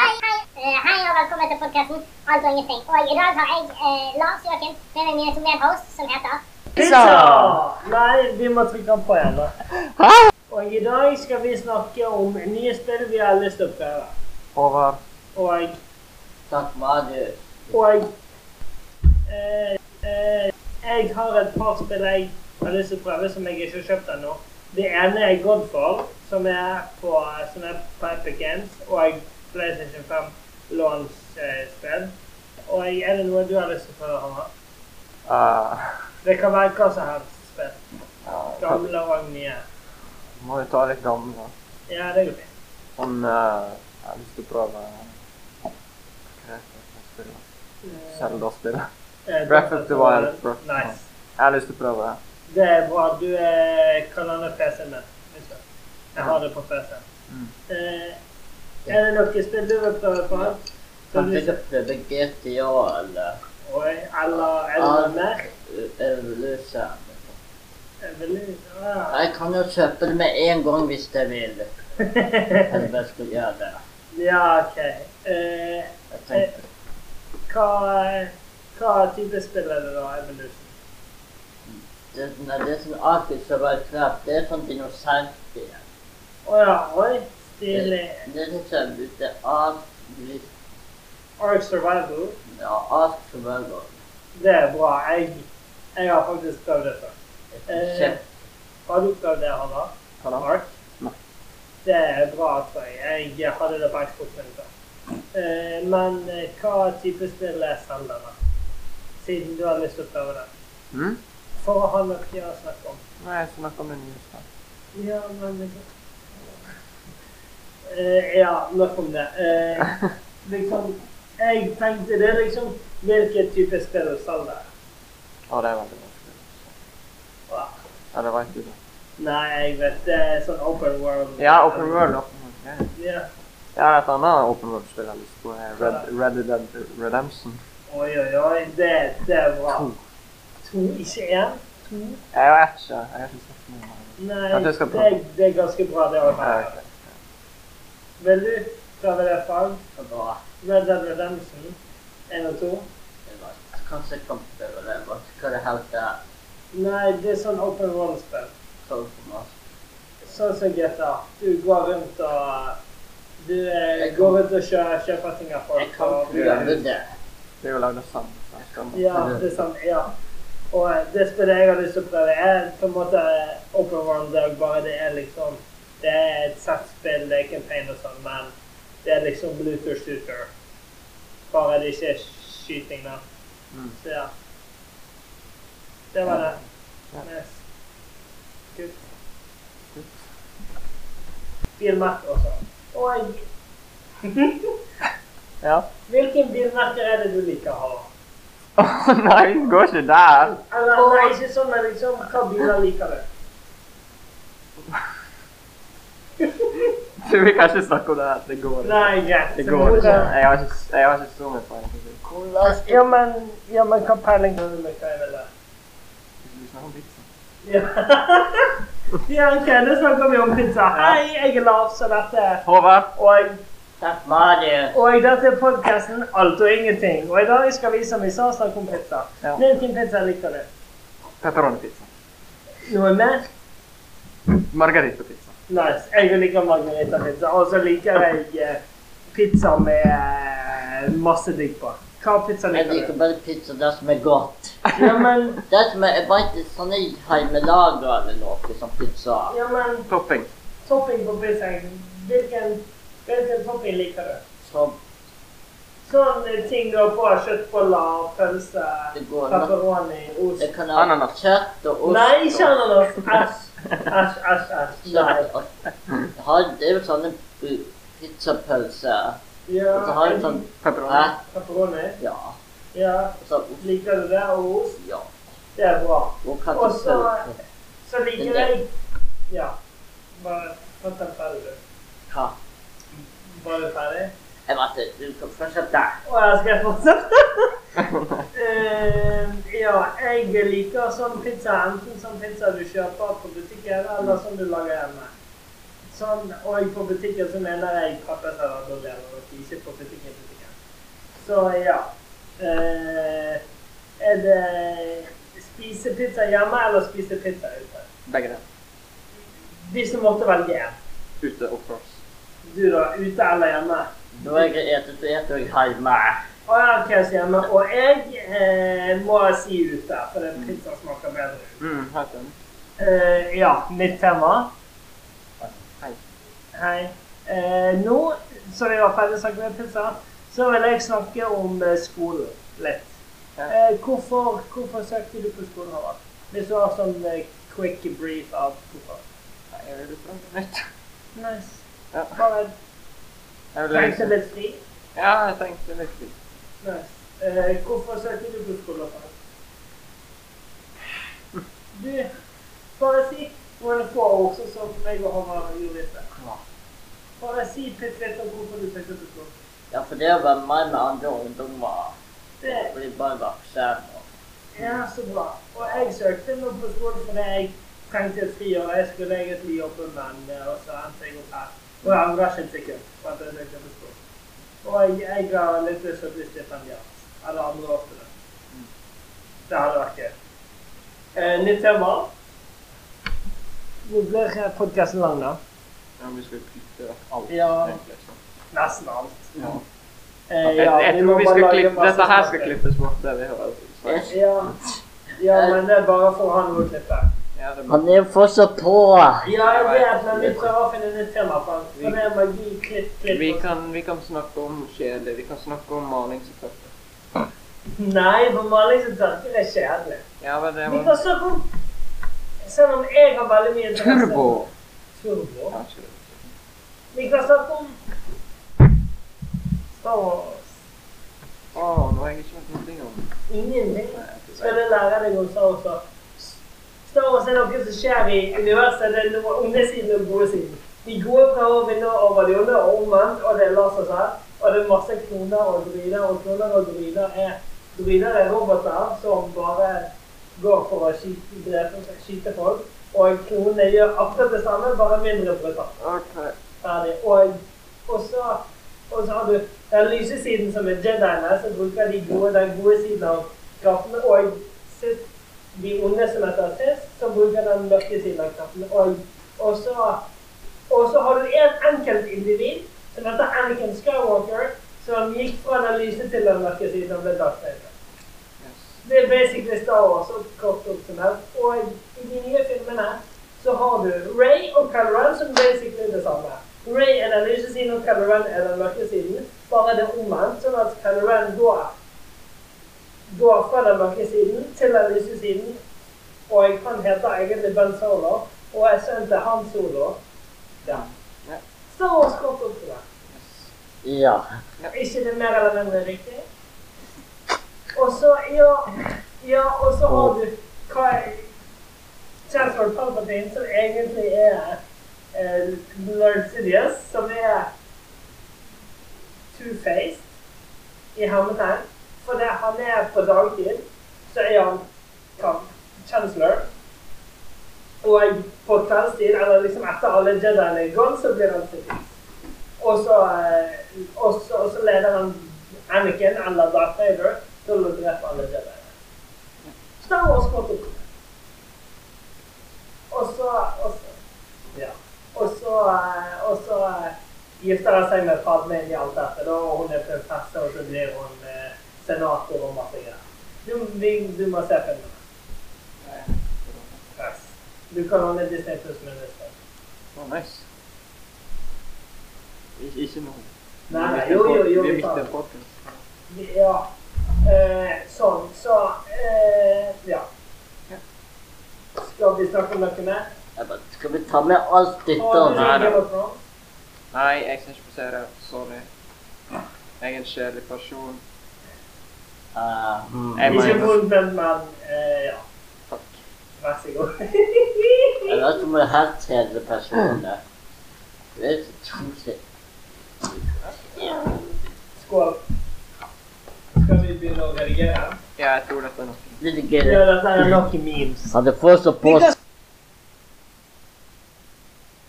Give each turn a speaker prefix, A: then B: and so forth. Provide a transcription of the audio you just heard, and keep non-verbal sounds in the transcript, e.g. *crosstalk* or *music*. A: Eh, og velkommen til podkasten Alt og ingenting. Og i dag har jeg eh, Lars Joakim med meg min medhost, som heter
B: Pizza!
C: Nei, vi må trykke på igjen. da.
B: Hæ?
C: Og i dag skal vi snakke om nye spill vi har lyst til å prøve.
B: Håvard.
C: Og
D: Takk var du.
C: Og eh, eh, jeg har et par spill jeg har lyst til å prøve som jeg ikke har kjøpt ennå. Det ene er Godfall, som er på, som er på Epic Games, og PlayStation eh, 5 launch-spill. Og er det noe du har lyst til å prøve, Hanna?
B: Eh,
C: Det kan være hva som helst spill.
B: ja, jeg
C: Gamle og nye.
B: må jo ta litt gammel. da.
C: Ja, det går fint.
B: Sånn eh, Jeg har lyst til å prøve Hva heter det spillet? Zelda-spill.
C: Eh,
B: Breath of the Wild.
C: Nice.
B: Jeg har lyst til å prøve det.
C: Det er bra. Du eh, kan lande PC-en min. Husk det. Jeg har det på PC-en.
B: Mm.
C: Eh, er det noe spill du vil prøve på? Som
D: Kan
C: du,
D: du prøve GTA eller
C: Oi, eller er det noe
D: Ah.
C: mer?
D: eh, Evolution?
C: Jeg Eh, vil, ah.
D: Jeg kan jo kjøpe det med en gang hvis jeg vil. Eller bare skulle gjøre det.
C: *laughs* ja, OK. Eh,
D: Jeg tenkte
C: hva, hva type spill er det da, Evolution?
D: det, er sånn- det er sånn arktisk og bare kraft. Det er sånn dinosaurspill.
C: Å ja, oi. Stilig.
D: Det, det er sånn ute av
C: Ark Survival.
D: ja, Ark Survival.
C: Det er bra. Jeg, jeg har faktisk prøvd det før. Eh.
D: Kjøpt.
C: Har du prøvd det, Hanna?
B: Hva da?
C: Ark?
B: Nei.
C: Det er bra, tror jeg. Jeg hadde det på Xboxen før. Eh, men eh, hva type spill er Zelda, da? Siden du har lyst til å prøve det.
B: Hm?
C: For å ha noe å snakke om.
B: Nei, jeg snakker om det nye spillet. *laughs*
C: Ja, men eh, Ja, nok om det.
B: *laughs*
C: Eh, liksom Jeg tenkte det, liksom Hvilken type spill er Zelda?
B: Ja, det er veldig vanskelig.
C: Wow.
B: Ja, det vet du. da.
C: Nei, jeg vet det er sånn open world.
B: Ja, Open World. Open World. ja, ja.
C: Ja.
B: Jeg har et annet Open World-spill jeg har lyst på. er Red, Red Dead Redemption.
C: Oi, oi, oi. Det, det er bra.
B: To.
C: To, ikke én. To.
B: Jeg har ikke Jeg har ikke sett noe av det.
C: Nei,
B: Ja,
C: det
B: det skal bra.
C: er, det er ganske bra, det òg.
B: Ja, ok.
C: Vil du prøve det fag?
D: Det var
C: Red Dead Redemption 1 og 2?
D: det var Kanskje jeg kan prøve det. Hva hva det heter
C: Nei, det er sånn open world-spill.
D: Sånn som oss.
C: Sånn som GTA. Du går rundt og Du eh,
D: Jeg kan-
C: går rundt og kjører, kjøper ting av folk.
D: Jeg kan
C: og-
D: prøve det.
B: Det er jo lagd av sand. så jeg skal-
C: Ja, det er sant. Ja. Og eh, det spillet jeg har lyst til å prøve, er på en måte eh, open world og bare det er liksom Det er et sett spill, det er campaign og sånn, men det er liksom Bluetooth shooter. Bare det ikke er skyting, da.
B: Mm.
C: Så ja. Det var det.
B: Ja.
C: Nice. Kult.
B: Kult.
C: Bilmerker sånn. også.
B: *laughs*
C: Og
B: Ja.
C: hvilken bilmerker er det du liker å ha?
B: Å nei, det går ikke der!
C: Eller nei, ikke sånn, men liksom hva biler liker du?
B: Du, vi kan ikke snakke om det her. Det går ikke.
C: Nei, greit.
B: Det går ikke. Jeg har ikke, jeg har ikke så mye peiling. på det.
C: Ja, men, ja, men hva peiling har du med hva jeg vil ha?
B: Hvis du snakker om pizza.
C: Ja. *laughs* ja, ok, nå snakker vi om pizza. Hei, jeg er Lars, og dette er
B: Håvard,
C: og,
D: Takk var det.
C: og dette er podkasten Alt og ingenting. Og i dag skal vi, som vi sa, snakke om pizza.
B: Ja.
C: Hvilken pizza liker du?
B: pepperoni-pizza.
C: Noe mer?
B: Margarita-pizza.
C: Nice. Jeg liker margaritapizza. Og så liker jeg eh, pizza med eh, masse digg på. Hva pizza
D: Jeg
C: liker
D: liker
C: du?
D: bare pizza det som er godt.
C: Ja, men,
D: Det som er, jeg vet ikke, sånn jeg heimelaga eller noe liksom, som pizza.
C: ja, men
B: Topping.
C: topping på pizzaen. Hvilken, hvilken topping liker du?
D: Så
C: Sånne ting du har på kjøttboller, pølse,
D: Det går nok.
C: pepperoni,
D: det
C: ost.
D: kan være
B: Ananas.
D: kjøtt og ost.
C: Nei, ikke
D: og-
C: ananas. Æsj. Æsj, æsj, æsj.
D: Nei,
C: Nei.
D: og- Jeg har- Det er jo sånne pi- pizzapølser.
C: Ja,
D: Og så har jeg sånn
B: Pepperoni.
D: eh,
C: pepperoni.
D: Ja.
C: Ja,
D: Og så ost.
C: liker du det, og ost.
D: Ja.
C: Det er bra.
D: Og
C: Og så-
D: kattepølse.
C: Så liker jeg Ja. Bare fatt den ferdig, du.
D: Hva?
C: Var du ferdig?
D: Jeg vet ikke. Du kan fortsette der.
C: Å, jeg skal fortsette. Eh, ja, jeg liker sånn pizza, enten sånn pizza du kjøper på butikken, eller sånn du lager hjemme. Sånn, og på butikken så mener jeg pappasaladdolje, og ikke på butikken. butikken. Så ja. Eh, er det spise pizza hjemme eller spise pizza ute?
B: Begge deler.
C: Hvis du måtte velge en.
B: Ute, of course.
C: Du da, ute eller hjemme?
D: Når jeg har etet, så eter jeg hjemme.
C: Å ja, Klaus hjemme. Og jeg eh, må si ute, for den pizza smaker bedre. ute.
B: Mm, helt enig.
C: Eh, ja, nytt tema.
B: Hei.
C: Hei. Eh, nå som vi var ferdig snakket med pizza, så vil jeg snakke om eh, skolen litt.
B: Ja.
C: Eh, hvorfor, hvorfor søkte du på skolen, Håvard? Hvis du har sånn eh, quick brief av hvorfor.
B: Nei, Jeg ville prøve noe nytt.
C: Nice.
B: Ja.
C: Bare
B: Jeg ville
C: tenkte
B: liksom...
C: litt fri.
B: Ja, jeg tenkte litt. litt.
C: Nice. Eh, hvorfor søkte du på skolen, Håvard? Du, bare si noen få ord, sånn som meg og Håvard gjorde dette. Bare si litt litt om hvorfor du søkte på skolen.
D: Ja, for det å være meg med andre ungdommer
C: Det
D: og bli bare voksen og
C: Ja, så bra. Og jeg søkte nå på skolen fordi jeg trengte et friår. Jeg skulle egentlig jobbe med en, eh, og så endte jeg opp her. Og jeg angrer ikke et sekund på at jeg søkte på skolen. Og jeg, jeg har litt lyst til å bli stipendiat. Eller andre år til det. Det hadde vært gøy. Eh, nytt tema. Nå blir podkasten lang, da.
B: Ja, vi skal klippe vekk alt.
C: Ja.
B: egentlig, liksom. så.
C: Nesten alt.
B: Ja.
C: Eh,
B: Jeg, jeg tror vi
C: bare
B: skal
C: lage
B: klippe...
C: masse
B: Dette her
C: smaker.
B: skal klippes bort, det vi hører. Så-
C: Ja. ja, men det er bare for å ha noe å klippe.
B: Ja, det er bra.
D: Han er fortsatt på!
C: Ja, jeg vet, men vi prøver å finne nytt tema. for- For det er magi, klipp, klipp.
B: Vi
C: og-
B: kan, vi kan snakke om kjedelig, vi kan snakke om malingsuttøkter.
C: Nei, for maling som tørker er kjedelig.
B: Ja, men det
C: Vi kan
B: var
C: snakke om Selv om jeg har veldig mye interesse
B: turbo.
C: Turbo.
B: Kanskje det var
C: Vi kan snakke om Star Wars.
B: Å, nå har jeg ikke hørt noe om det.
C: Ingenting.
B: Nei, jeg tror
C: Skal
B: det.
C: jeg lære deg om Star Wars? da? Star Wars er noe som skjer i universet. Det er noe onde siden og gode siden. De gode prøver å vinne over de onde, og omvendt, og det er lasersverd. Og det er masse kloner og druider, og kloner og druider er Druider er roboter som bare går for å skyte, drepe, skyte folk. Og klonene gjør akkurat det samme, bare mindre brutalt.
B: Ok.
C: Ferdig. Og, og, så, og så har du den lyse siden som er Jediene, som bruker de gode, den gode siden av kraften. Og sist, de onde som heter sist, som bruker den mørke siden av kraften. Og, og, så, og så har du en enkelt individ, som heter Anakin Skywalker, som gikk fra den lyse til den mørke siden og ble Darth Vader.
B: Yes.
C: Det er basically Star Wars og kort oppsummert. Og i de nye filmene så har du Ray og Calderon som basically er det samme. Ray er den lyse siden, og Calderon er den mørke siden. Bare det er omvendt, sånn at Calderon går, går fra den mørke siden til den lyse siden. Og han heter egentlig Ben Solo, og er sønnen til Han Solo. Ja.
B: Ja.
C: Star Wars kort oppsummert.
B: Yes.
D: Ja.
C: Er ikke det mer eller mindre riktig? Og så, ja, ja og så har du hva er- Chancellor Palpatine, som egentlig er eh, Lord Sidious, som er two-faced i hermetegn. For det, han er på dagtid, så er han kan- chancellor. Og på kveldstid, eller liksom etter alle Jediene er gone, så blir han Sidious. Og så, eh, og så, og så leder han Anakin eller Darth Vader til å drepe alle jediene. Star Wars går til Og så og så- Ja. Og så eh, Og så eh, gifter han seg med Padme i alt dette, da, og hun er prinsesse, og så blir hun eh, senator og masse greier. Du, vi- du må se filmen.
B: Nei, jeg tror det.
C: Yes. Du kan holde Disney Plus-minister.
B: Å, nice. Ik ikke nå.
C: Nei,
B: Vi
C: nei,
B: visste
C: jo,
B: en pod-
C: jo, jo,
B: Vi
C: vi tar
B: visste
C: det.
B: en podcast.
C: Ja. Eh, sånn, så eh, Ja.
B: Ja.
C: Skal vi snakke om noe mer?
D: Jeg bare, skal vi ta med alt
C: Har du
D: dette?
B: nei, nei.
C: Game of Thrones?
B: Nei, jeg skal ikke passere. Sorry. Jeg er en kjedelig person.
D: Ah, hmm.
B: Jeg
C: Ikke
B: mener-
C: vondt, men men, eh, ja.
B: Takk.
C: Vær så god.
D: Eller så må jeg helt tredje personer. Det er så trosig.
C: *laughs* Skål. Skal vi begynne å redigere?
B: Ja, jeg tror dette er nok.
D: Det er
C: Ja,
D: gøy.
C: dette er nok memes.
D: Han er fortsatt
C: Vi
D: på
C: kan